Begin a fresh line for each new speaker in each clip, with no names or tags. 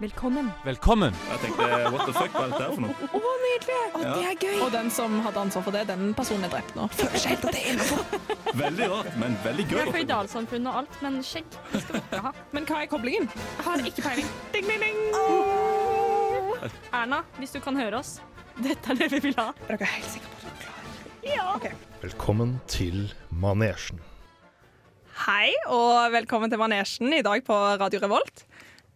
Velkommen.
Velkommen!
Jeg tenkte what the fuck, hva er dette her for noe?
Å, nydelig!
Ja.
Det er gøy.
Og den som hadde ansvar for det, den personen er drept nå.
Føler seg helt at det er innenfor.
Veldig rart, men veldig gøy.
Det er føydalsamfunn og alt, men skjegg det skal vi ikke ha.
Men hva er koblingen?
Har ikke peiling. Ding, ding, ding. Erna, hvis du kan høre oss, dette er det vi vil ha.
Dere er helt sikre på at dere klarer det.
Velkommen til manesjen.
Hei og velkommen til Manesjen i dag på Radio Revolt.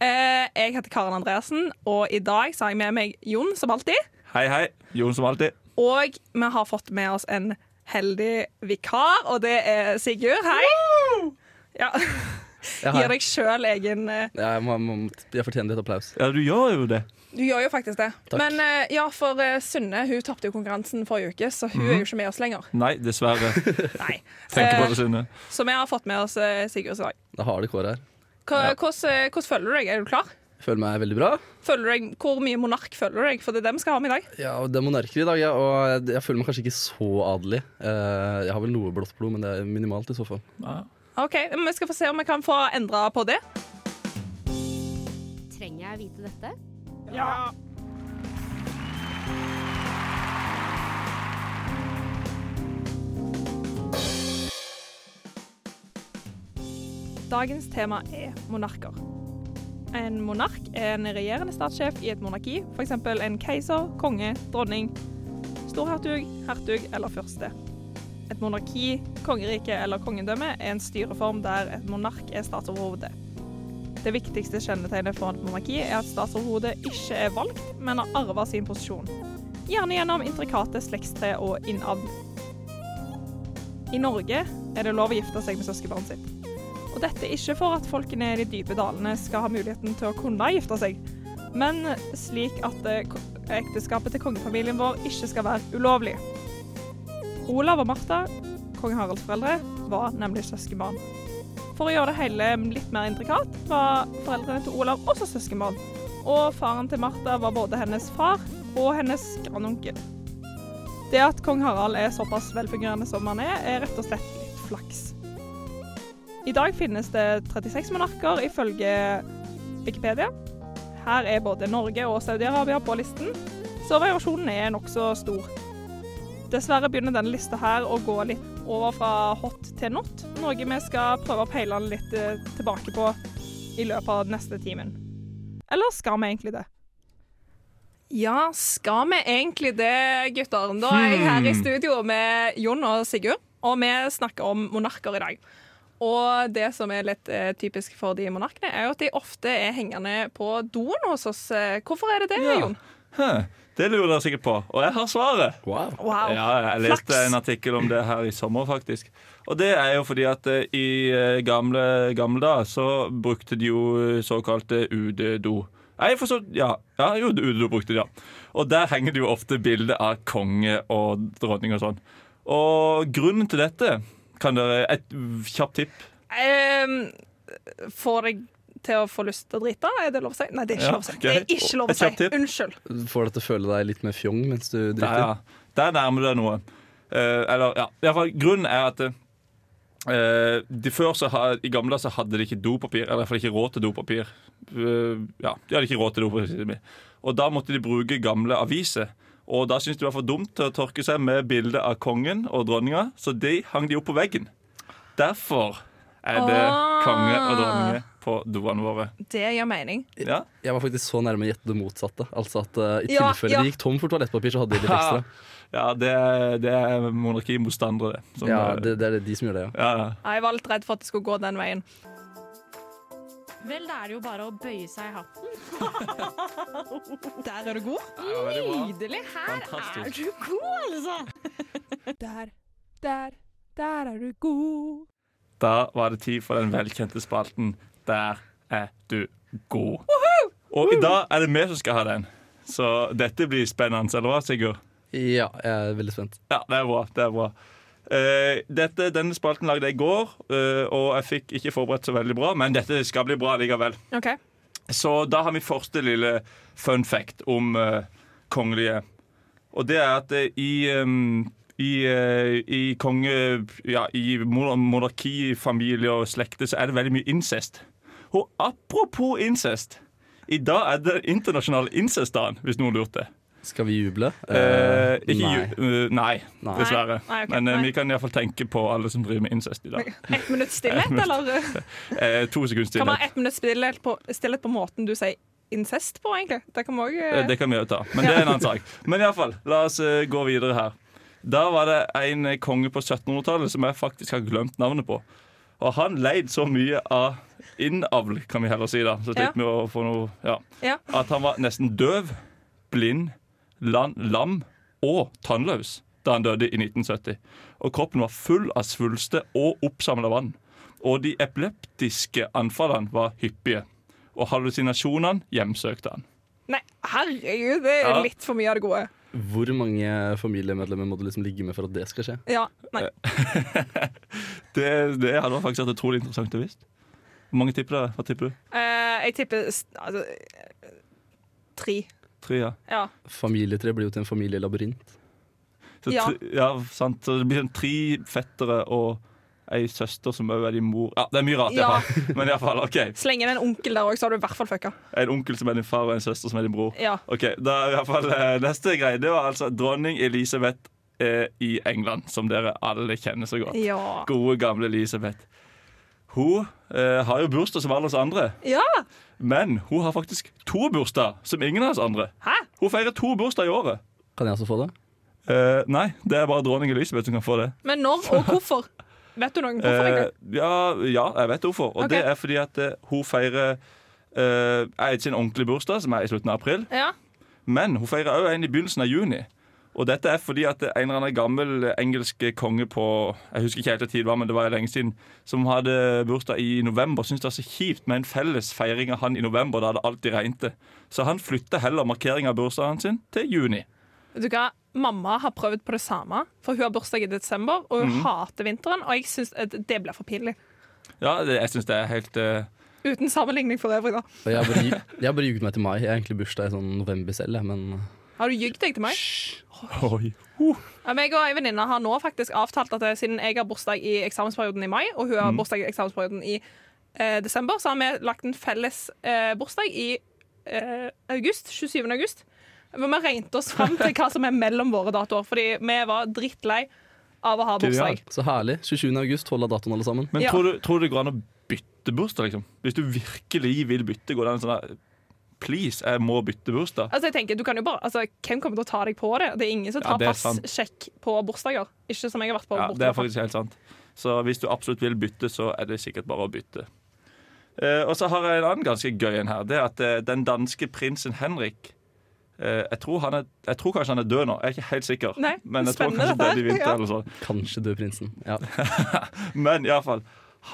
Eh, Jeg heter Karen Andreassen, og i dag så har jeg med meg Jon, som alltid.
Hei, hei. Jon som alltid.
Og vi har fått med oss en heldig vikar, og det er Sigurd. Hei! Ja,
Ja, hei.
Gir deg sjøl egen eh,
Ja, jeg, må, må, jeg fortjener litt applaus.
Ja, du gjør jo det.
Du gjør jo faktisk det.
Takk.
Men eh, ja, for eh, Sunne hun tapte jo konkurransen forrige uke, så hun er jo ikke med oss lenger.
Nei, dessverre.
Mhm. Nei.
Tenker på
Eh,
det sine.
Så vi har fått med oss eh, Sigurd i dag.
Det har det kåret her.
Hva- Hvordan eh, hvordan føler du deg? Er du klar?
Føler meg veldig bra.
Føler du deg, hvor mye monark føler du deg? For det er det vi skal ha med i dag.
Ja, og Det er monarker i dag, ja, og jeg, jeg føler meg kanskje ikke så adelig. Eh, jeg har vel noe blått blod, men det er minimalt i så fall.
Ok, men Vi skal få se om vi kan få endra på det.
Trenger jeg vite dette?
Dagens tema er monarker. En monark er en regjerende statssjef i et monarki, f.eks. en keiser, konge, dronning, storhertug, hertug eller fyrste. Et monarki, kongerike eller kongedømme er en styreform der et monark er statsoverhode. Det viktigste kjennetegnet for et monarki er at statsoverhodet ikke er valgt, men har arva sin posisjon. Gjerne gjennom intrikate slektstre og innavl. I Norge er det lov å gifte seg med søskenbarnet sitt. Og dette er ikke for at folkene i de dype dalene skal ha muligheten til å kunne gifte seg, men slik at eh, ko- ekteskapet til kongefamilien vår ikke skal være ulovlig. Olav og Martha, kong Haralds foreldre, var nemlig søskenbarn. For å gjøre det hele litt mer intrikat var foreldrene til Olav også søskenbarn, og faren til Martha var både hennes far og hennes grandonkel. Det at kong Harald er såpass velfungerende som han er, er rett og slett litt flaks. I dag finnes det 36 monarker ifølge Wikipedia. Her er både Norge og Saudi-Arabia på listen, så variasjonen er nokså stor. Dessverre begynner denne lista her å gå litt over fra hot til not, noe vi skal prøve å peile den litt eh, tilbake på i løpet av den neste timen. Eller skal vi egentlig det? Ja, skal vi egentlig det, gutter? Da er jeg her i studio med Jon og Sigurd, og vi snakker om monarker i dag. Og det som er litt eh, typisk for de monarkene, er jo at de ofte er hengende på doen hos oss. Eh, Hvorfor er det det,
Ja.
Jon?
Hæ, Det lurer dere sikkert på, og jeg har svaret.
Wow.
Wow.
Ja, jeg leste
Flaks.
en artikkel om det her i sommer, faktisk. Og det er jo fordi at eh, i eh, gamle, gamle dager så brukte de jo eh, såkalte utedo. Nei, for så Ja, ja jo, utedo brukte de, ja. Og der henger det jo ofte bilde av konge og dronning og sånn. Og grunnen til dette kan dere Et kjapt tipp.
Ehm, får deg til å få lyst til å drite? Er det lov å si? Nei, det er ikke
Ja,
lov å si.
ok.
Det er ikke lov å
Et
si.
kjapt tipp.
Unnskyld.
Får deg til å føle deg litt mer fjong mens du
Der, ja.
drikker.
Der nærmer du deg noe. Eh, eller, ja. I hvert fall, grunnen er at eh, de før så ha, I gamle dager så hadde de ikke dopapir, eller i hvert fall ikke råd til dopapir. Eh, ja, de hadde ikke råd til dopapir. sier de. Og da måtte de bruke gamle aviser. Og da syntes de det var for dumt til å tørke seg med bilde av kongen og dronninga, så de hang de opp på veggen. Derfor er det
Ah.
konge og dronninge på doene våre.
Det gir mening.
Ja.
Jeg var faktisk så nærme å gjette det motsatte. Altså at eh, I
Ja,
tilfelle
ja.
de gikk tom for toalettpapir, så hadde de litt ekstra.
Ja, det er, det er monarkimotstandere. som-
Ja, det, det Sånn er det de som gjør det, ja.
ja, ja.
Ja, Jeg var litt redd for at det skulle gå den veien.
Vel, da er det jo bare å bøye seg i hatten.
Der er du god.
Nydelig. Her er
Fantastisk.
du god, altså.
Der, der, der er du god.
Da var det tid for den velkjente spalten Der er du god. Og i dag er det vi som skal ha den. Så dette blir spennende, eller hva, Sigurd?
Ja, jeg er veldig spent.
Ja, det er bra. det er bra. Eh, dette, denne spalten lagde jeg i går, eh, og jeg fikk ikke forberedt så veldig bra, men dette skal bli bra likevel.
OK.
Så da har vi første lille fun fact om eh, kongelige. Og det er at eh, i, em, i, eh, i konge... Ja, i mon- monarki, familie og slekter så er det veldig mye incest. Og apropos incest. I dag er det internasjonal incestdagen, hvis noen lurte.
Skal vi juble?
Eh,
Eh,
ikke
nei.
ju... eh, nei,
Nei.
dessverre.
Nei, ok,
Men eh,
nei.
vi kan iallfall tenke på alle som driver med incest i dag.
Ett minutts stillhet, eller?
Eh, to sekunds
Kan man
stillhet.
ha ett minutts stillhet, på- stillhet på måten du sier incest på, egentlig? Det kan vi òg
Eh, Det kan vi jo ta, men det er en annen sak. Men iallfall, la oss eh, gå videre her. Da var det en eh, konge på 1700-tallet som jeg faktisk har glemt navnet på. Og han leid så mye av innavl, kan vi heller si, da. Så
Ja.
slipper vi å få noe ja.
Ja.
At han var nesten døv, blind, lan, lam og tannløs da han døde i 1970. Og kroppen var full av svulster og oppsamla vann. Og de epileptiske anfallene var hyppige. Og hallusinasjonene hjemsøkte han.
Nei, herregud, det er
Ja.
litt for mye av det gode.
Hvor mange familiemedlemmer må du liksom ligge med for at det skal skje?
Ja, nei.
Det, det hadde faktisk vært utrolig interessant å visst. Hvor mange tipper det? Hva tipper du?
Eh, jeg tipper s- altså, eh, tre.
Tre, ja.
Ja.
Familietre blir jo til en familielabyrint.
Så
Ja.
Tre, ja, sant. Så det blir sånn tre fettere og ei søster som òg er din mor. Ja, Det er mye rart, i
Ja.
hvert fall. Men i hvert fall, OK.
Sleng inn en onkel der òg, så har du i hvert fall fucka.
En onkel som er din far, og en søster som er din bror.
Ja.
Ok, da er i hvert fall eh, Neste greie det var altså dronning Elisabeth eh, i England, som dere alle kjenner så godt.
Ja.
Gode, gamle Elisabeth. Hun eh, har jo bursdag som alle oss andre,
ja.
men hun har faktisk to bursdag som ingen av oss andre.
Hæ?
Hun feirer to bursdag i året.
Kan jeg også få det?
Eh, nei, det er bare dronning Elisabeth som kan få det.
Men når og hvorfor? Vet du noen hvorfor?
Eh,
egentlig?
ja, ja, jeg vet hvorfor. Og
Ok.
det er fordi at eh, hun feirer eh, jeg, sin ordentlige bursdag, som er i slutten av april.
Ja.
Men hun feirer òg en i begynnelsen av juni. Og dette er fordi at en eller annen gammel engelsk konge på Jeg husker ikke helt hva tid det var, men det var jo lenge siden. Som hadde bursdag i november. Syntes det var så kjipt med en felles feiring av han i november, da det alltid regnet. Så han flytta heller markeringa av bursdagen sin til juni.
Vet du hva? Mamma har prøvd på det samme, for hun har bursdag i desember, og hun hater vinteren, og jeg syns at det blir for pinlig.
Ja, det, jeg syns det er helt eh,
Uten sammenligning for øvrig, da.
Og jeg har bare, ju- jeg har bare ljuget meg til mai. Jeg har egentlig bursdag i sånn november selv, jeg, men
Har du jugd deg til meg?
Oi.
Ja, meg og ei venninne har nå faktisk avtalt at eh, siden jeg har bursdag i eksamensperioden i mai, og hun har
Mm.
bursdag i eksamensperioden i eh, desember, så har vi lagt en felles eh, bursdag i eh, august. 27. august. Hvor vi regnet oss fram til hva som er mellom våre datoer, fordi vi var drittlei av å ha bursdag.
Så herlig. 27. august, hold av datoen, alle sammen.
Men
Ja.
tror, du, tror du det går an å bytte bursdag, liksom? Hvis du virkelig vil bytte, går det an å sånn der, Please, jeg må bytte bursdag.
Altså jeg tenker, du kan jo bare, altså, Hvem kommer til å ta deg på det? Det er ingen som
Ja,
tar
det er sant.
passsjekk på bursdager. Ikke som jeg har vært på.
Ja,
borte
det er
på.
faktisk helt sant. Så hvis du absolutt vil bytte, så er det sikkert bare å bytte. Eh, og så har jeg en annen ganske gøy en her. Det er at eh, den danske prinsen Henrik eh, jeg, tror han er, jeg tror kanskje han er død nå. Jeg er ikke helt sikker.
Nei,
Men jeg tror kanskje
spennende dette her.
død i vinter
Ja.
eller sånn.
Kanskje død prinsen. Ja.
Men i alle fall,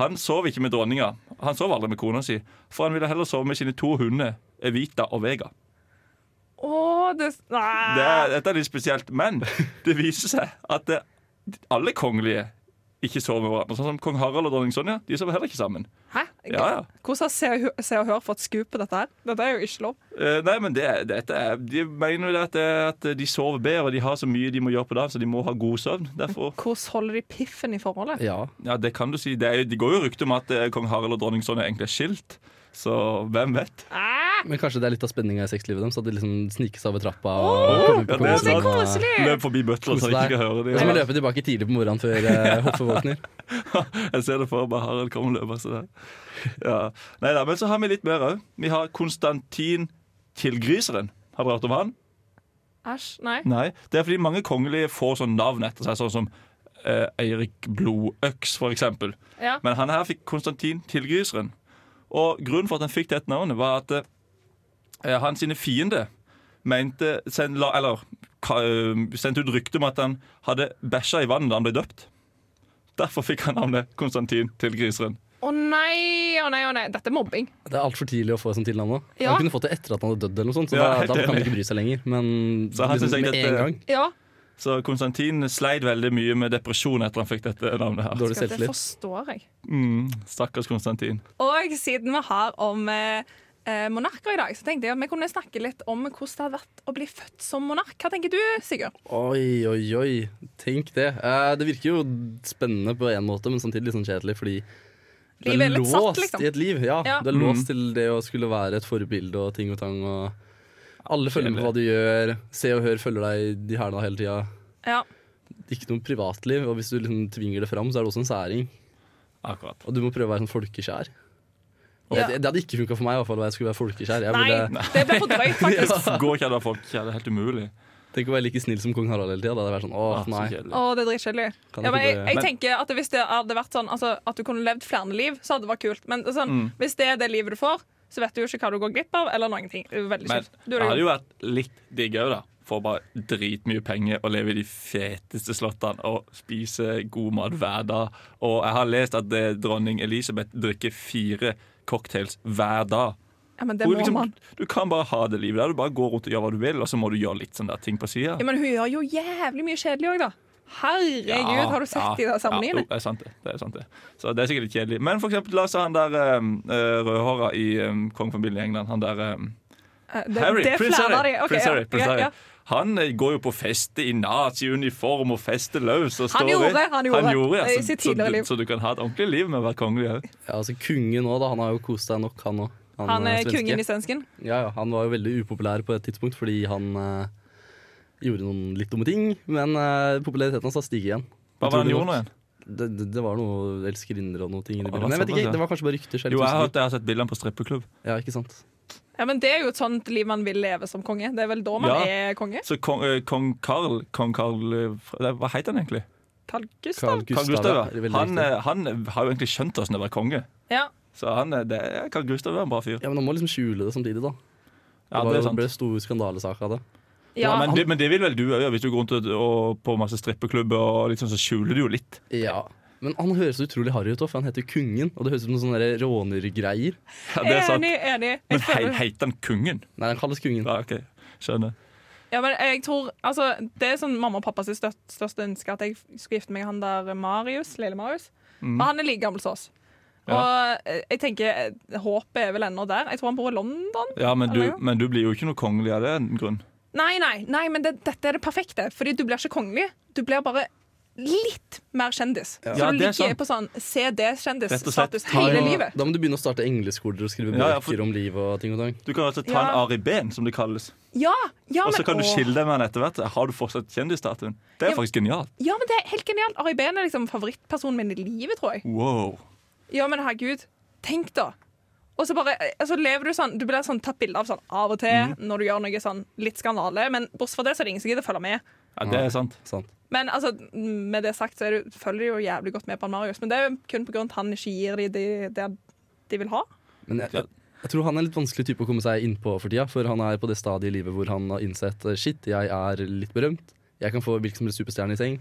han sov ikke med dronninga. Han sov aldri med kona si. For han ville heller sove med sine to hunder, Evita og Vega.
Åh, det, nei.
Det
Ah.
er, dette er litt spesielt, men det viser seg at det, alle kongelige ikke sover med hverandre. Sånn som kong Harald og dronning Sonja de sover heller ikke sammen.
Hæ?
Ja, ja.
Hvordan har Se og Hø- Se og Hør fått skup på dette her? Dette er jo ikke lov.
Eh, nei, men det, dette er, De mener jo det at, det er at de sover bedre, og de har så mye de må gjøre på dagen, så de må ha god søvn. Derfor,
Hvordan holder de piffen i forholdet?
ja.
ja, det kan du si. Det, er, jo- det går jo rykter om at eh, kong Harald og dronning Sonja egentlig er skilt. Så hvem vet?
Men kanskje det er litt av spenninga i sexlivet deres? At de liksom snikes over trappa og
Åh, ja, det er sant. Løp forbi butler så jeg
Kose
ikke
deg.
kan høre
Det er som å
det.
løpe tilbake tidlig på morgenen før eh, hoffet våkner.
Jeg ser det for meg Harald kommer løpende sånn. Ja. Nei da, men så har vi litt mer òg. Vi har Konstantin Tilgriseren. Har dere hørt om han?
Æsj, nei.
Nei. Det er fordi mange kongelige får sånn navn etter seg, sånn som eh, Eirik Blodøks, for eksempel.
Ja.
Men han her fikk Konstantin Tilgriseren. Og grunnen for at han fikk dette navnet, var at eh, han sine fiender mente send, la, Eller ka, eh, sendte ut rykte om at han hadde bæsja i vannet da han ble døpt. Derfor fikk han navnet Konstantin Tilgriseren.
Å nei, å nei, å nei. Dette er mobbing.
Det er altfor tidlig å få sånn tilnavn nå.
Ja.
Han kunne fått det etter at han hadde dødd, eller noe sånt, så
Ja, helt
da, da kan
enig.
han ikke bry seg lenger. Men
Så han synes jeg
liksom, med
dette-
en gang.
Ja,
Så Konstantin sleit veldig mye med depresjon etter han fikk dette navnet. her
Dårlig
skal det
selvtillit.
forstår jeg.
mm, Stakkars Konstantin.
Og siden vi har om eh, eh, monarker i dag, så tenkte jeg at vi kunne snakke litt om hvordan det har vært å bli født som monark. Hva tenker du, Sigurd?
Oi, oi, oi. Tenk det. Eh, det virker jo spennende på en måte, men samtidig litt sånn kjedelig, fordi Du
Livet er litt satt, liksom.
i et liv. Ja,
Ja.
Du er
Mm.
låst til det å skulle være et forbilde og ting og tang. Og alle følger med på hva du gjør. Se og Hør følger deg i hæla hele tida.
Ja.
Ikke noe privatliv, og hvis du liksom tvinger det fram, så er det også en særing.
Akkurat.
Og du må prøve å være sånn folkeskjær.
Ja.
Det, det hadde ikke funka for meg i hvert fall, hva jeg skulle være folkeskjær. Jeg eh,
Nei,
ville,
det ble for drøyt, faktisk.
Går ikke an å ha folk her. Det er helt umulig.
tenk å være like snill som kong Harald hele tida. Da hadde jeg vært sånn, åh,
Ah, så
nei.
kjedelig.
Å, det er dritkjedelig.
Kan
Ja, men
ikke
jeg,
det-
jeg
Men-
tenker at Hvis det hadde vært sånn altså, at du kunne levd flere liv, så hadde det vært kult. Men sånn,
Mm.
hvis det er det livet du får, så vet du jo ikke hva du går glipp av. Eller noen ting. Det er jo Veldig
Men
kjipt. Du
det
er
hadde
jo-
jo vært litt digg òg, da. Få bare dritmye penger og leve i de feteste slottene og spise god mat hver dag. Og jeg har lest at eh, dronning Elisabeth drikker fire cocktails hver dag.
Ja, men det
Hvor
må
liksom,
man.
du kan bare ha det livet der. Du bare går rundt og gjør hva du vil, og så må du gjøre litt sånne der ting på sida.
Ja, men hun gjør jo jævlig mye kjedelig òg, da. Herregud, har du sett de der
Ja,
sammenhengene?
jo, det, er sant det. det er sant det. Så det er sikkert litt kjedelig. Men for eksempel, la oss ta han der um, rødhåra i um, kongefamilien i England. Han der um,
Eh, det-
Harry.
det er
Prince
flere av
Harry.
de. Ok,
Prince
ja,
Harry, Prince
ja,
Harry.
ja.
Han eh, går jo på feste i naziuniform og fester løs. Og står
Han
i-
gjorde, han gjorde.
ja,
I
så-
sitt
så
tidligere
du-
liv.
Så du kan ha et ordentlig liv med å være kongelig òg.
Ja, altså Kongen òg, da. Han har jo kost seg nok, han òg.
eh,
Han er
svenske.
kongen i svensken.
Ja, ja, han var jo veldig upopulær på et tidspunkt fordi han eh, gjorde noen litt dumme ting. Men eh, populariteten hans har stiget igjen.
Hva
Jeg
var
tror
det han
det
gjorde nå
nok-
igjen?
Det, det, det var noe elskerinner og noe ting inni
Å,
bildet. Men jeg vet
såpass,
ikke,
ja.
det var kanskje bare rykter. selv,
Jo, jeg har,
tusen
hørt- jeg har sett bildene på strippeklubb.
takk. sånn Ja, ikke sant?
Ja, men Det er jo et sånt liv man vil leve som konge. Det er vel da man
Ja.
er konge?
Så kong, eh, kong Karl Kong Karl eh, fra- nei, Hva heter han egentlig?
Carl Gustav?
Carl
Karl
Gustav,
Gustav,
ja.
ja.
Veldig
Han,
riktig.
eh, han har jo egentlig skjønt oss når det var konge.
Ja.
Så han, eh, det, er- Carl Gustav er en bra fyr.
ja, men han må liksom skjule det samtidig, da. Det,
Ja,
var,
det er
jo-
sant.
ble stor skandalesak av det.
Ja,
Ja,
men, det, men det vil vel du òg gjøre, hvis du går rundt og, og på masse strippeklubber, og liksom, så skjuler du jo litt.
Ja. Men han høres utrolig harry ut, også, for han heter Kongen. Og det høres ut som noen sånne der rånergreier.
Ja, det er sant.
Enig, enig.
Men
Jeg
he,
føler-
heter han Kongen?
Nei, han kalles Kongen.
Ja, ok, skjønner.
Ja, men jeg tror, altså, Det er sånn mamma og pappas største, største ønske at jeg skulle gifte meg med han der Marius, lille Marius. For han er like gammel som oss.
Ja.
Og eh, jeg tenker, eh, Håpet er vel ennå der. Jeg tror han bor i London.
Ja, men
Eller
du,
ja.
men du blir jo ikke noe kongelig av det. en grunn
Nei, nei, nei, men det, dette er det perfekte. Fordi du blir ikke kongelig. Du blir bare litt mer kjendis. Så
Ja,
du
det er
ligger
sant.
på sånn
Rett og slett.
CD-kjendisstatus
Da
hele
må-
livet.
Da må du begynne å starte engleskoler og skrive bøker
Ja, ja, for-
om liv og ting og tang.
Du kan altså ta en
Ja.
Ari Behn, som det kalles.
Ja, ja,
Og så
men,
kan du
åh.
skille deg med han etter hvert. Har du fortsatt kjendisstatuen? Det
Ja.
er faktisk genialt.
ja, men det er helt genialt. Ari Behn er liksom favorittpersonen min i livet, tror jeg.
Wow.
Ja, men herregud, tenk da. Og så bare, altså lever du sånn, du blir sånn tatt bilde av sånn av og til
Mhm.
når du gjør noe sånn litt skandale, men bortsett fra det så er det ingen som gidder følge med.
Ja, det er sant.
Sant.
Men altså, med det sagt så er du, følger du jo jævlig godt med på han Marius, men det er jo kun på grunn av at han ikke gir de det de, de vil ha.
Men jeg,
Ja.
jeg, jeg tror han er en litt vanskelig type å komme seg innpå for tida. For han er på det stadiet i livet hvor han har innsett eh, shit, jeg er litt berømt. Jeg kan få hvilken som helst superstjerne i seng.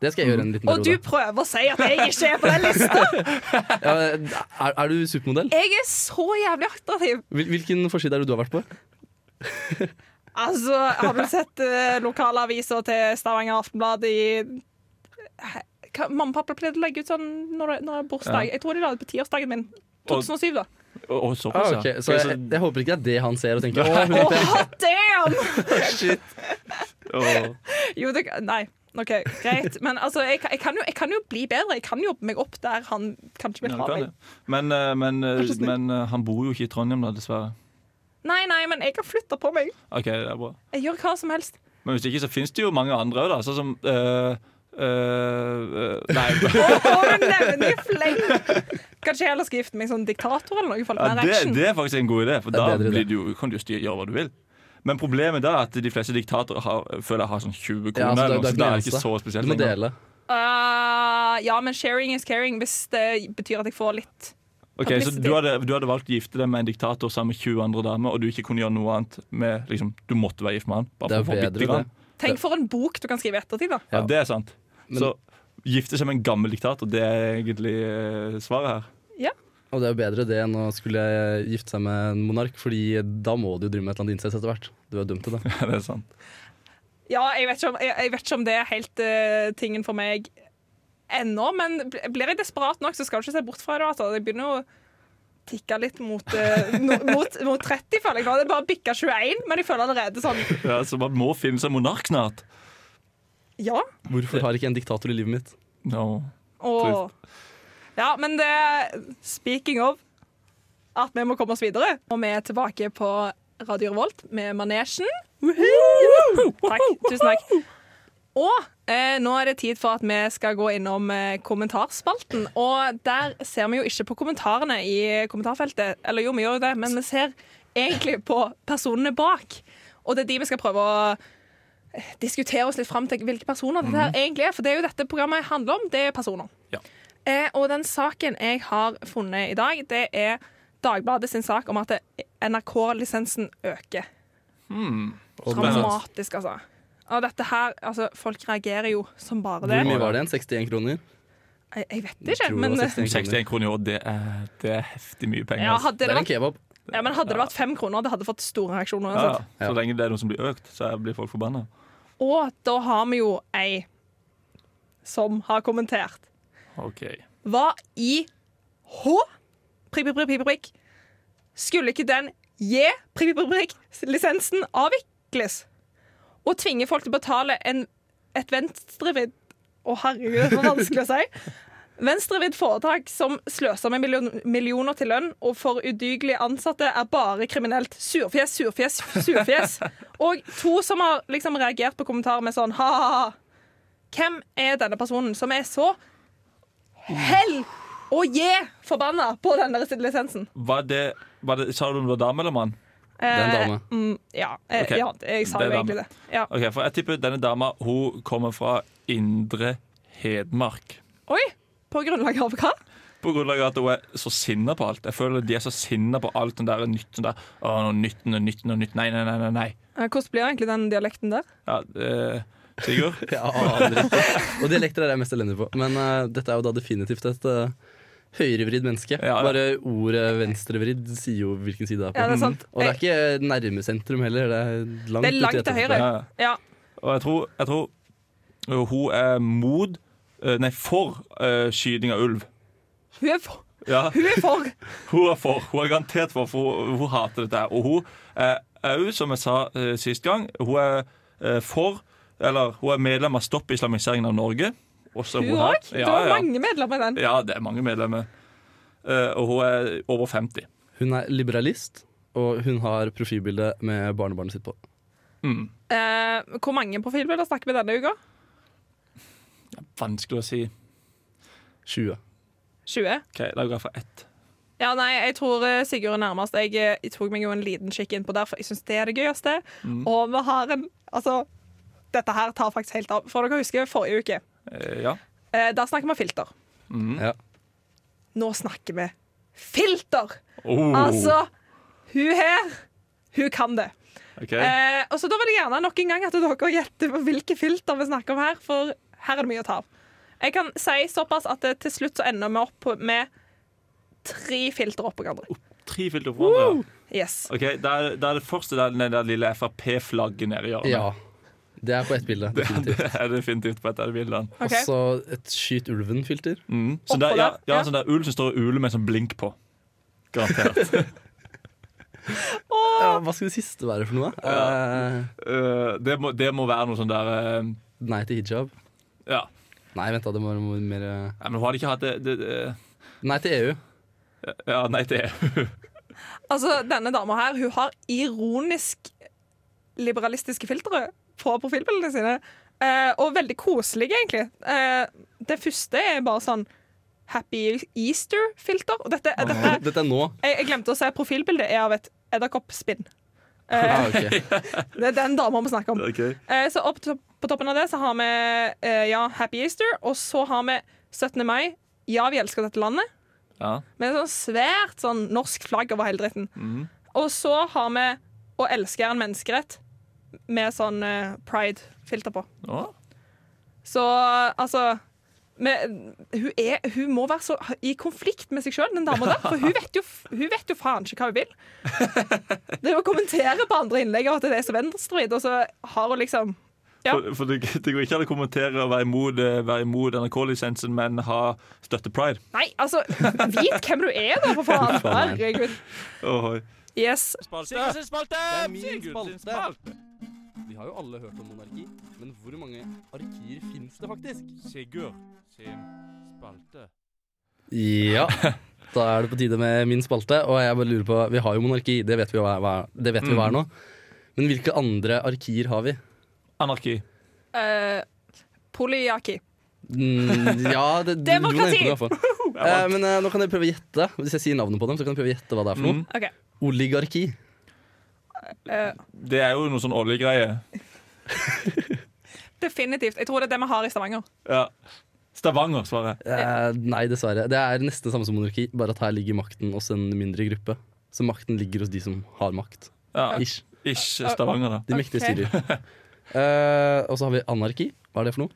Det skal jeg gjøre en liten
Og du
periode.
prøver å si at jeg ikke er på den lista!
Ja, eh, er, er du supermodell?
Jeg er så jævlig attraktiv!
Hvil, hvilken forside er det du har vært på?
Altså, har du sett eh, lokale aviser til Stavanger Aftenblad i Hæ? Hva- Mamma og pappa pleide å legge ut sånn når det når det er bursdag. Jeg tror de la det på tirsdagen min. 2007, da.
Og, og såpass,
Ah, ok,
ja.
Altså, Så jeg, jeg, håper ikke det er det han ser og tenker å, hun heter
Hot damn!
og,
Jo, det, nei. OK, greit. Men altså, jeg, kan- jeg, kan jo, jeg kan jo bli bedre. Jeg kan jobbe meg opp der han kanskje vil
ja,
ha
kan
meg.
det. Men, eh, men, eh, men eh, han bor jo ikke i Trondheim, da, dessverre.
Nei, nei, men jeg har flytta på meg.
Ok, det er bra.
Jeg gjør hva som helst.
Men hvis ikke, så finnes det jo mange andre òg, da. Sånn som eh, eh, eh, Nei.
Og hun nevner i fleng! Kanskje jeg heller skal gifte meg som diktator eller noe? For
Ja,
mer
det,
action.
det er faktisk en god idé, for
Det er
da
bedre
blir
idé.
du, jo- kan du jo styre, gjøre hva du vil. Men problemet da er at de fleste diktatorer har, føler jeg har sånn 20
Ja,
kroner.
altså,
eller noe, så
det, det er
det er
ikke den
ikke så
eneste.
spesielt
Du må
lenger.
dele.
Ah, ja, men sharing is caring hvis det betyr at jeg får litt
Ok, så
Publicity.
du hadde, du hadde valgt å gifte deg med en diktator sammen med 20 andre damer, og du ikke kunne gjøre noe annet med liksom, Du måtte være gift med han.
Det
Bare for å
er
få
bedre,
bitte grann.
Tenk for en bok du kan skrive i ettertid, da.
Ja, det er sant.
Men-
så gifte seg med en gammel diktator, det er egentlig eh, svaret her.
Og det er jo bedre det enn å skulle gifte seg med en monark, Fordi da må du jo drive med et eller annet incest etter hvert. Du er dømt til det.
Ja, det er sant.
Ja, jeg vet ikke om, jeg, jeg vet ikke om det er helt eh, tingen for meg ennå, men bl- blir jeg desperat nok, så skal du ikke se bort fra det. Altså. Det begynner jo å tikke litt mot, eh, no, mot, mot 30, føler jeg. nå. Det er bare bikka 21, men jeg føler allerede sånn
Ja, så man må finne seg en monark snart.
Ja.
Hvorfor har ikke jeg en diktator i livet mitt?
No.
Og Ja, men det Speaking of at vi må komme oss videre. Og vi er tilbake på Radio Revolt med Manesjen. Takk. Tusen takk. Og eh, nå er det tid for at vi skal gå innom eh, kommentarspalten. Og der ser vi jo ikke på kommentarene i kommentarfeltet. Eller jo, vi gjør jo det, men vi ser egentlig på personene bak. Og det er de vi skal prøve å eh, diskutere oss litt fram til hvilke personer dette her egentlig er. For det er jo dette programmet handler om. Det er personer.
Ja.
Eh, og den saken jeg har funnet i dag, det er Dagbladet sin sak om at det- NRK-lisensen øker. Dramatisk, altså. Og dette her, altså, folk reagerer jo som bare
Hvor
det.
mye var det igjen? 61 kroner?
Jeg, jeg vet
Jeg
ikke,
tror
men,
det var 61
61 kroner i år, det er, det er heftig mye penger.
ja,
altså.
hadde
Det
det
er en
vært,
kebab.
ja, men hadde det vært fem kroner, det hadde fått store reaksjoner.
ja,
uansett.
ja. Så lenge det er noe som blir økt, så blir folk forbanna.
Og da har vi jo ei som har kommentert.
Okay.
Hva i H? Prikk, prikk, prikk, prikk, prikk. Skulle ikke den J, prikk, prikk, prikk, prikk, lisensen avvikles? Og tvinge folk til å betale en, et venstrevidd Å, herregud, det er så vanskelig å si. Venstrevidd foretak som sløser med million, millioner til lønn og for udygelige ansatte, er bare kriminelt. Surfjes, surfjes, surfjes. Og to som har liksom reagert på kommentarer med sånn ha-ha-ha. Hvem er denne personen som er så hell og je forbanna på den der lisensen.
Var det, var det, sa du om det var dame eller mann?
Det er en dame.
Mm, ja, eh,
Ok.
ja, jeg sa
Det er
jo egentlig det. Ja.
Ok, for Jeg tipper denne dama hun kommer fra Indre Hedmark.
Oi! På grunnlag av hva?
På grunnlag av at hun er så sinna på alt. Jeg føler De er så sinna på alt den der nytten der. Å, nå nytten og nytten og nytt. Nei, nei, nei. nei, nei.
Eh, Hvordan blir egentlig den dialekten der?
Ja, eh, Sigurd?
Jeg aner ikke. Og dialekter er jeg mest elendig på. Men eh, dette er jo da definitivt et eh, høyrevridd menneske.
Ja, ja.
Bare ordet venstrevridd sier jo hvilken side det er på.
Ja, det er sant.
Og det er ikke nærme sentrum heller. Det er langt,
Det er langt
ut i
til
etterfylket.
høyre.
Ja, ja.
Ja.
Og jeg tror, jeg tror øh, hun er mod øh, Nei, for øh, skyting av ulv.
Hun er for.
Ja,
Hun er for.
hun er for. Hun er garantert for, for hun, hun hater dette. her. Og hun eh, er òg, som jeg sa øh, sist gang, hun er øh, for Eller hun er medlem av Stopp islamiseringen av Norge. Også
Hun
her.
òg. Det
Ja,
var
ja.
mange medlemmer i den.
ja, det er mange medlemmer. Eh, og hun er over 50.
Hun er liberalist, og hun har profilbilde med barnebarnet sitt på.
Mm.
Eh, hvor mange profilbilder snakker vi denne uka?
Vanskelig å si.
20.
20?
OK, da går jeg for ett.
Ja, nei, jeg tror eh, Sigurd er nærmest. Jeg, eh, jeg tok meg jo en liten kikk innpå der, for jeg syns det er det gøyeste.
Mm.
Og vi har en Altså, dette her tar faktisk helt av. For dere husker forrige uke.
Eh, ja.
Eh, da snakker vi filter.
Mm.
Ja.
Nå snakker vi filter!
Oh,
Altså, hun her, hun kan det.
OK.
Eh, og så Da vil jeg gjerne nok en gang at dere gjetter på hvilke filter vi snakker om her, for her er det mye å ta av. Jeg kan si såpass at det, til slutt så ender vi opp på- med tre filtre oppå hverandre.
Tre filter på hverandre.
Yes.
Ok, Da er, da er det første der, den der lille Frp-flagget nede i hjørnet.
ja. Det er på ett bilde. definitivt.
Det er definitivt på et av de bildene.
ok.
Og så et skyt ulven-filter.
Mm. Så
Oppå
der, ja,
der,
ja,
ja.
sånn der ulv som står og uler med en sånn blink på. Garantert.
Ah!
Ja, hva skal det siste være for noe? Eh,
Eh, det, må, det må være noe sånn der eh,
nei til hijab.
Ja.
Nei, vent da, det må være mer eh,
Nei, men hun hadde ikke hatt det, det, det
Nei til E EU.
Ja, nei, det
Altså, Denne dama her hun har ironisk liberalistiske filtre på profilbildene sine. Eh, og veldig koselige, egentlig. Eh, det første er bare sånn Happy Easter-filter. Og dette, dette
Dette er nå.
jeg, jeg glemte å si profilbildet er av et edderkoppspinn.
Ah,
Eh,
ok.
det er den dama vi snakker om.
okay.
Eh, så opp to på toppen av det så har vi eh, ja, Happy Easter, og så har vi 17. mai. Ja, vi elsker dette landet.
ja.
Med sånn svært sånn norsk flagg over hele dritten. Og så har vi Å elske er en menneskerett med sånn eh, pride-filter på.
Å,
Så altså men hun, er, hun må være så i konflikt med seg sjøl, den dama der. For hun vet, jo, hun vet jo faen ikke hva hun vil. Det er å kommentere på andre innlegg av at det er så venstrevridd, og så har hun liksom Ja.
For, for det, det går ikke an å kommentere og være imot, eh, være imot NRK-lisensen, men ha støtte pride.
Nei, altså, vit hvem du er, da, for faen!
faen.
Herregud.
Ohoi.
Yes.
Spalte!
Vi har jo alle hørt om monarki, men hvor mange arkier fins det faktisk?
Sigurd sin spalte.
Ja. Da er det på tide med min spalte. Og jeg bare lurer på, Vi har jo monarki, det vet vi hva hva- det vet vi hva er nå. Men hvilke andre arkier har vi?
Anarki.
Eh, polyaki.
Mm, ja, det, du-
Demokrati!
Du, var inne på det, i hvert fall. eh, men eh, nå kan dere prøve å gjette. Hvis jeg sier navnet på dem, så kan dere prøve å gjette hva det er for noe.
Mm.
OK.
Oligarki.
eh,
Det er jo noe sånn oljegreie.
definitivt. Jeg tror det er det vi har i Stavanger.
Ja. Stavanger, svarer jeg.
Eh, nei, dessverre. Det er nesten samme som monarki, bare at her ligger makten hos en mindre gruppe. Så makten ligger hos de som har makt.
Ja,
Ish.
Ikke Stavanger, da.
De mektige styrer. Eh, og så har vi anarki. Hva er det for noe?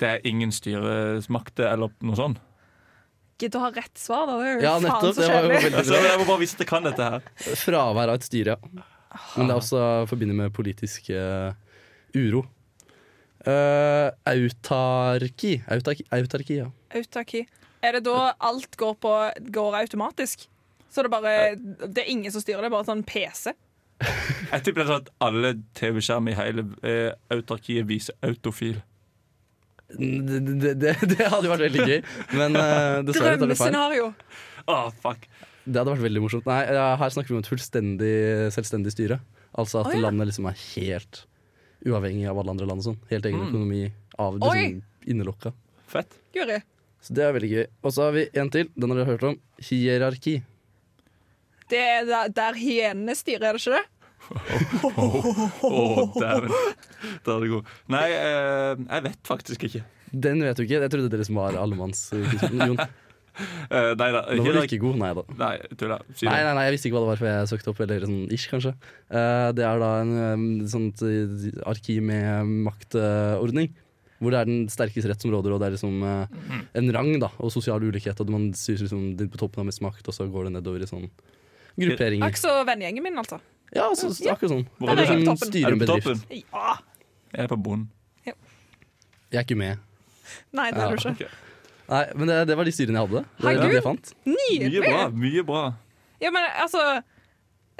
Det er ingen styresmakter eller noe sånt.
Gidd å ha rett svar, da. Det er jo
Ja,
faen
nettopp.
så
Det var jo
kjedelig.
veldig
Altså,
bra.
jeg må bare vise at jeg kan dette her.
Fravær av et styre, ja.
Ah.
Men det er også forbundet med politisk eh, uro. Eh, autarki. autarki. Autarki, ja.
Autarki. Er det da alt går, på, går automatisk? Så det, bare, det er ingen som styrer det, bare sånn PC?
Jeg tipper det er sånn at alle TV-skjermer i hele eh, autarkiet viser autofil.
Det, det, det, det hadde jo vært veldig gøy, men eh, dessverre tar vi feil.
Drømmescenario!
Ah, fuck.
Det hadde vært veldig morsomt. Nei, ja, her snakker vi om et fullstendig selvstendig styre. Altså at
Å, ja.
landet liksom er helt uavhengig av alle andre land og sånn. Helt egen økonomi av
Mm. Oi!
liksom, innelokka.
Fett.
Guri.
Så det er veldig gøy. Og så har vi en til. Den har dere hørt om. Hierarki.
Det er der, der hyenene styrer, er det ikke det?
Å, dæven. Da er det god. Nei, eh, jeg vet faktisk ikke.
Den vet du ikke. Jeg trodde dere som var allemannskunnskapen. Jon,
Eh, nei da.
nå var du ikke god. Nei da.
Nei, tulla. Si
Nei,
det.
nei, nei, jeg visste ikke hva det var før jeg søkte opp. Eller sånn ish, kanskje. Eh, det er da en eh, sånt eh, arki med maktordning. hvor det er den sterkes rett som råder, og det er liksom eh, en rang da, og sosial ulikhet. Og man synes liksom de på toppen har mest makt, og så går det nedover i sånn grupperinger.
Akkurat vennegjengen min, altså.
Ja, så, så, akkurat sånn.
Hvor
er
Eller
du på
som
toppen?
styrer
Er
en
du på
bedrift.
toppen?
Ja!
Jeg er på bunnen.
Jeg er ikke med.
Nei, det er du ikke.
Ok.
Nei, men det, det var de styrene jeg hadde. Det,
Herregud.
det jeg fant.
Mye
Nydelig!
bra. mye bra
Ja, men altså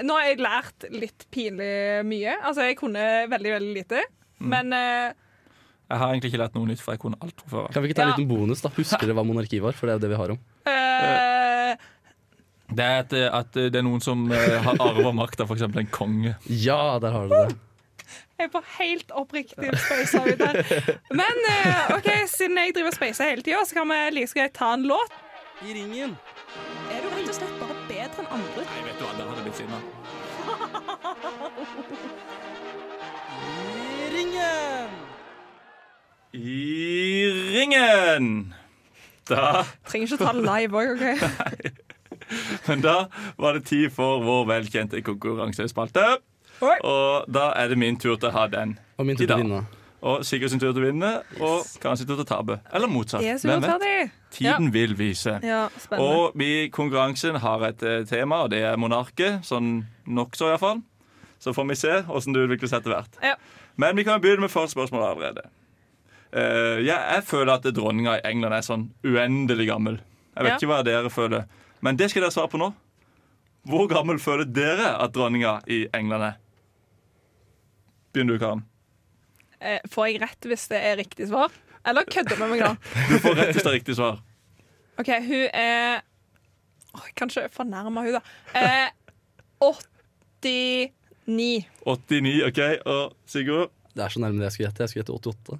Nå har jeg lært litt pinlig mye. Altså, jeg kunne veldig, veldig lite.
Mm.
Men eh,
Jeg har egentlig ikke lært noe nytt, for jeg kunne alt fra før.
Kan vi ikke ta en
Ja.
liten bonus? da? Husker dere hva monarki var? For det er jo det vi har om.
eh,
Det er at, eh, at eh, det er noen som eh, har arva makta, f.eks. en konge.
Ja, der har dere det.
Jeg er på helt oppriktig space ut her. Men eh, OK, siden jeg driver og spacer hele tida, så kan vi like så greit ta en låt.
I ringen.
Er du rett og slett bare bedre enn andre?
Nei, vet du hva, der hadde blitt sinna.
I ringen!
I ringen! Da
Trenger ikke ta det live òg, OK?
Men da var det tid for vår velkjente konkurransespalte.
Oi.
Og da er det min tur til å ha den.
Og min
I
tur til
dag.
å vinne.
Og Sigurd sin tur til å vinne, og Karen sin tur til å tape. Eller motsatt.
Jeg er så
Hvem vet?
urettferdig.
Tiden vil vise.
Ja, spennende.
Og vi i konkurransen har et eh, tema, og det er monarket. Sånn nokså, iallfall. Så får vi se åssen det utvikler seg etter hvert.
Ja.
Men vi kan begynne med første spørsmål allerede. Eh, ja, jeg føler at dronninga i England er sånn uendelig gammel. Jeg vet
Ja.
ikke hva dere føler, men det skal dere svare på nå. Hvor gammel føler dere at dronninga i England er? Begynner du, Karen.
Eh, Får jeg rett hvis det er riktig svar? Eller kødder med meg nå?
Du får rett hvis det er riktig svar.
OK, hun er Åh, Jeg kan ikke fornærme hun da. Eh, 89.
89, OK. Og Sigurd?
Det er så nærme det jeg skulle gjette. Jeg skulle gjette 88.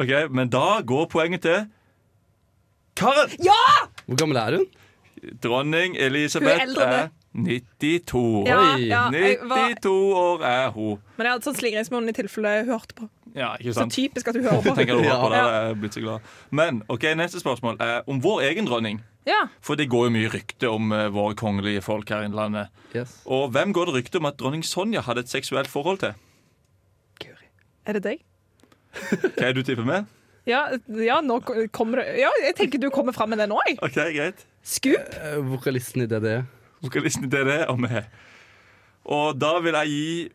OK, men da går poenget til Karen!
Hvor gammel er hun?
Dronning Elisabeth
Hun er eldre enn
er 92.
Ja,
Oi.
ja, jeg var,
92 år er hun.
men jeg hadde sånn slingringsmonn i tilfelle hun hørte på.
Ja, ikke
Så
sant?
typisk at hun hører på.
Tenker du
Ja.
på det, jeg er blitt så glad. Men ok, neste spørsmål er om vår egen dronning.
Ja.
For det går jo mye rykte om eh, våre kongelige folk her i landet.
Yes.
Og hvem går det rykte om at dronning Sonja hadde et seksuelt forhold til?
Er det deg?
Hva er du tipper med?
Ja, ja, nå ko- kommer det Ja, jeg tenker du kommer fram med det nå, jeg.
Ok, greit.
Scoop.
Eh, vokalisten i E. DDE.
Vokalisten i DDE og meg. Og da vil jeg gi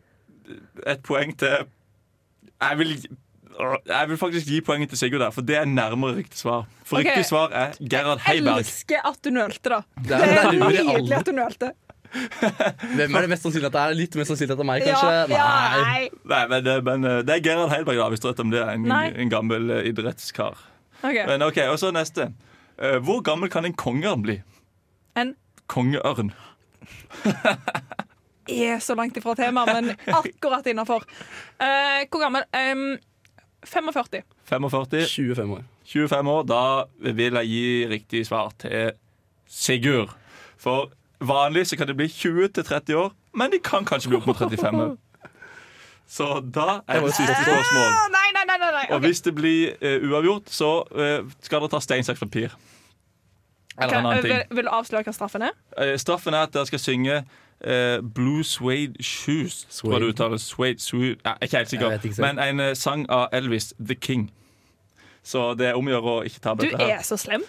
et poeng til Jeg vil, jeg vil faktisk gi poenget til Sigurd der, for det er nærmere riktig svar. For
Ok.
riktig svar er Gerhard Heiberg.
Elsker at du nølte, da.
Det
Det
er
er
lurer i
nydelig
alle.
at du nølte.
Hvem er det mest sannsynlig at det er? Litt mer sannsynlig at det er meg,
Ja,
kanskje?
ja,
Nei.
nei.
Nei, men, det- men eh, det er Gerhard Heiberg, da, hvis du vet om det er en,
Nei.
en gammel eh, idrettskar.
Ok.
Men ok, Og så neste. Eh, hvor gammel kan en kongeørn bli?
En?
Kongeørn.
er så langt ifra temaet, men akkurat innafor. hvor gammel? Ehm, 45.
45.
25 år.
25 år. Da vil jeg gi riktig svar til Sigurd. For vanlig så kan det bli 20-30 år, men de kan kanskje bli opp mot 35 år. Så da er det siste spørsmål.
Å, Ah, nei, nei, nei! nei, nei.
Og hvis det blir eh, uavgjort, så eh, skal dere ta stein, saks, papir. Eller en
Kan-
annen ting.
vil, vil du avsløre hva straffen er?
Eh, Straffen er at dere skal synge eh, Blue Suede Shoes. Tror
Suede.
jeg du uttaler Suede, Suede. Ja, jeg er ikke helt sikker.
Jeg vet ikke selv.
Men en eh, sang av Elvis, The King. Så det er omgjøre å ikke ta
Du
dette her.
er så slem.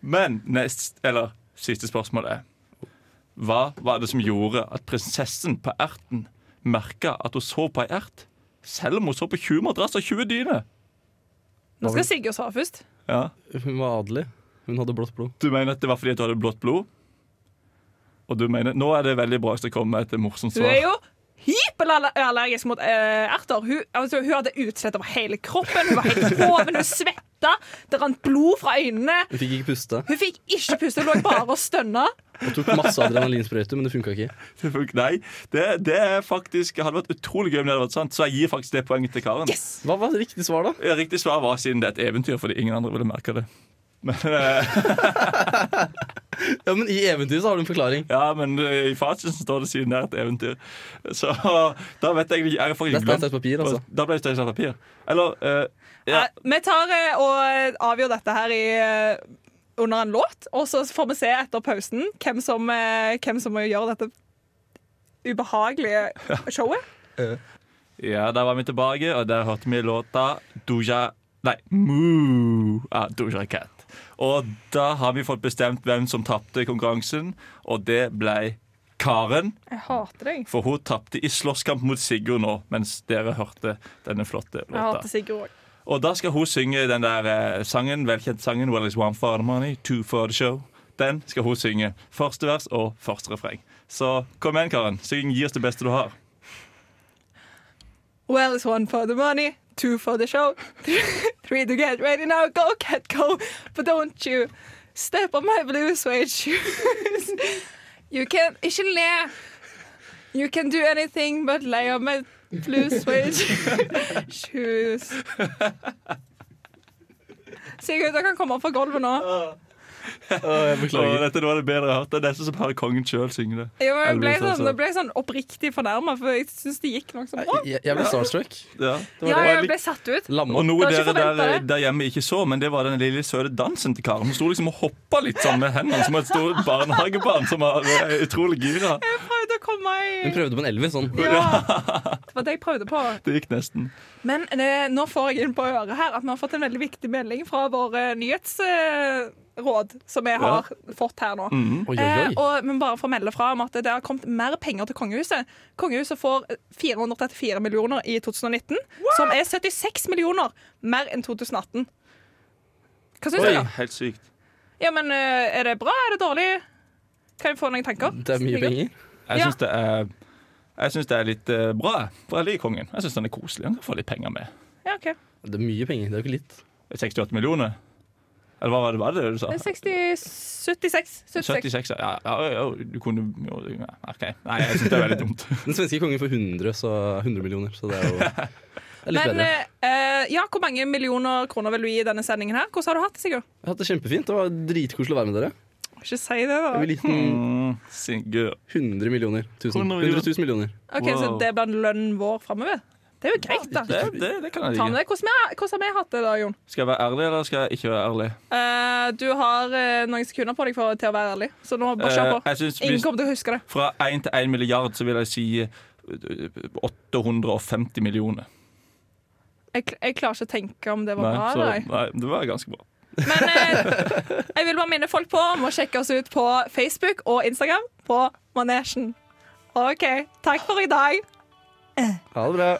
Men nest, eller, siste spørsmål er Hva var det som gjorde at prinsessen på erten merka at hun sov på ei ert, selv om hun sov på 20 madrass og 20 dyner?
Nå skal Sigurd svare først.
Ja.
Hun var adelig. Hun hadde blått blod.
Du mener at det var fordi at du hadde blått blod? Og du mener, Nå er det veldig bra hvis det kommer med et morsomt
Hun
svar.
er jo hyperallergisk mot eh, erter. Hun, altså, hun hadde utslett over hele kroppen, hun var helt hoven, hun svetta, det rant blod fra øynene.
Hun fikk ikke puste
Hun fikk ikke puste, hun lå bare og stønna.
og tok masse adrenalinsprøyter, men det funka ikke.
Det fun- Nei, det, det er faktisk hadde vært utrolig gøy om det hadde vært sant, så jeg gir faktisk det poenget til Karen.
Yes!
Hva var riktig svar, da?
Riktig svar var siden det er et eventyr, fordi ingen andre ville merke det. Men, eh,
Ja, men I eventyret så har du en forklaring.
ja, men eh, i fasiten så står det siden det er et eventyr. Så da vet jeg ikke Jeg har
Det
faktisk
er stein,
glemt
saks, papir, altså.
Da ble det stein, saks, papir. Eller eh, ja,
Nei, Vi tar eh, og avgjør dette her i, eh, under en låt, og så får vi se etter pausen hvem som, eh, hvem som gjør dette ubehagelige showet.
ja, der var vi tilbake, og der hørte vi låta Doja Nei, Moo av Doja Cat. Og da har vi fått bestemt hvem som tapte konkurransen, og det ble Karen.
Jeg hater deg.
For hun tapte i slåsskamp mot Sigurd nå, mens dere hørte denne flotte
Jeg hater
låta.
Sigurd òg.
Og da skal hun synge den der eh, sangen, velkjent sangen Well, it's one for the money, two for the show. Den skal hun synge. Første vers og første refreng. Så kom igjen, Karen. Syng Gi oss det beste du har.
Well, it's one for the money, two for the show, three to get ready now, go cat go, but don't you step on my blue suede shoes. You can Ikke le. You can do anything but lay on my blue suede shoes. Sigurd, du kan komme opp fra gulvet nå.
Og dette er noe av det bedre jeg har hørt. Det er nesten som hører kongen sjøl synge det.
Jo, men jeg ble
Elvis,
sånn,
altså.
jeg ble sånn oppriktig fornærma, for jeg syns det gikk nokså bra.
Jeg, jeg ble starstruck.
Ja, det var
Ja,
det.
jeg ble satt ut.
Og
Lamma.
noe
Jeg hadde
dere
ikke
der,
forventet det.
der hjemme ikke så, men det var den lille søte dansen til Karen. Hun sto liksom og hoppa litt sånn med hendene som et stort barnehagebarn som var eh, utrolig gira.
Jeg prøvde å komme i
Hun prøvde på en Elvis sånn.
Ja! Det var det jeg prøvde på.
Det gikk nesten.
Men eh, nå får jeg inn på øret her at vi har fått en veldig viktig melding fra våre nyhetsråd, eh, råd, som vi har fått her nå.
Mm. Oi, oi,
Eh,
oi.
og, men bare for å melde fra om at det har kommet mer penger til kongehuset. Kongehuset får eh, 434 millioner i 2019, som er 76 millioner mer enn 2018. Hva syns
Oi,
du, da?
helt sykt.
Ja, men eh, Er det bra? Er det dårlig? Kan jeg få noen tanker?
Det er mye penger.
Jeg
Ja.
syns det er jeg synes det er litt eh, bra, for jeg liker kongen. Jeg synes Han er koselig. Han kan få litt penger med.
Ja, ok.
Det er mye penger, det er jo ikke litt.
68 millioner? Eller hva var det, var det du sa?
Det er 60, 76. 76.
76, ja. ja, ja, ja du kunne jo, ja, OK. Nei, jeg syns det er veldig dumt.
Den svenske kongen får 100, så 100 millioner, så det er jo det er litt
Men
bedre.
eh, eh, ja, hvor mange millioner kroner vil du gi i denne sendingen her? Hvordan har du hatt det, Sigurd?
Jeg har hatt det kjempefint. Det var dritkoselig å være med dere.
Ikke si det, da.
Jeg vil gi den
Mm, Sigurd.
100 millioner. 1000.
100
100 000 millioner.
Ok, Så
Wow.
det blir lønnen vår framover? Det er jo greit, da.
Det, det, det kan jeg
Ta
like.
med deg. Hvordan, vi- hvordan har vi hatt det, da, Jon?
Skal jeg være ærlig, eller skal jeg ikke være ærlig?
Eh, du har eh, noen sekunder på deg for, til å være ærlig, så nå bare kjør
Eh,
på.
jeg synes
Ingen
hvis,
kommer til å huske det.
Fra 1 til 1 milliard så vil jeg si eh, 850 millioner.
Jeg, kl- jeg klarer ikke å tenke om det var
Nei,
bra
så,
eller ei.
nei, det var ganske bra.
Men eh, jeg vil bare minne folk på om å sjekke oss ut på Facebook og Instagram på Manesjen. OK. Takk for i dag.
Ha det bra.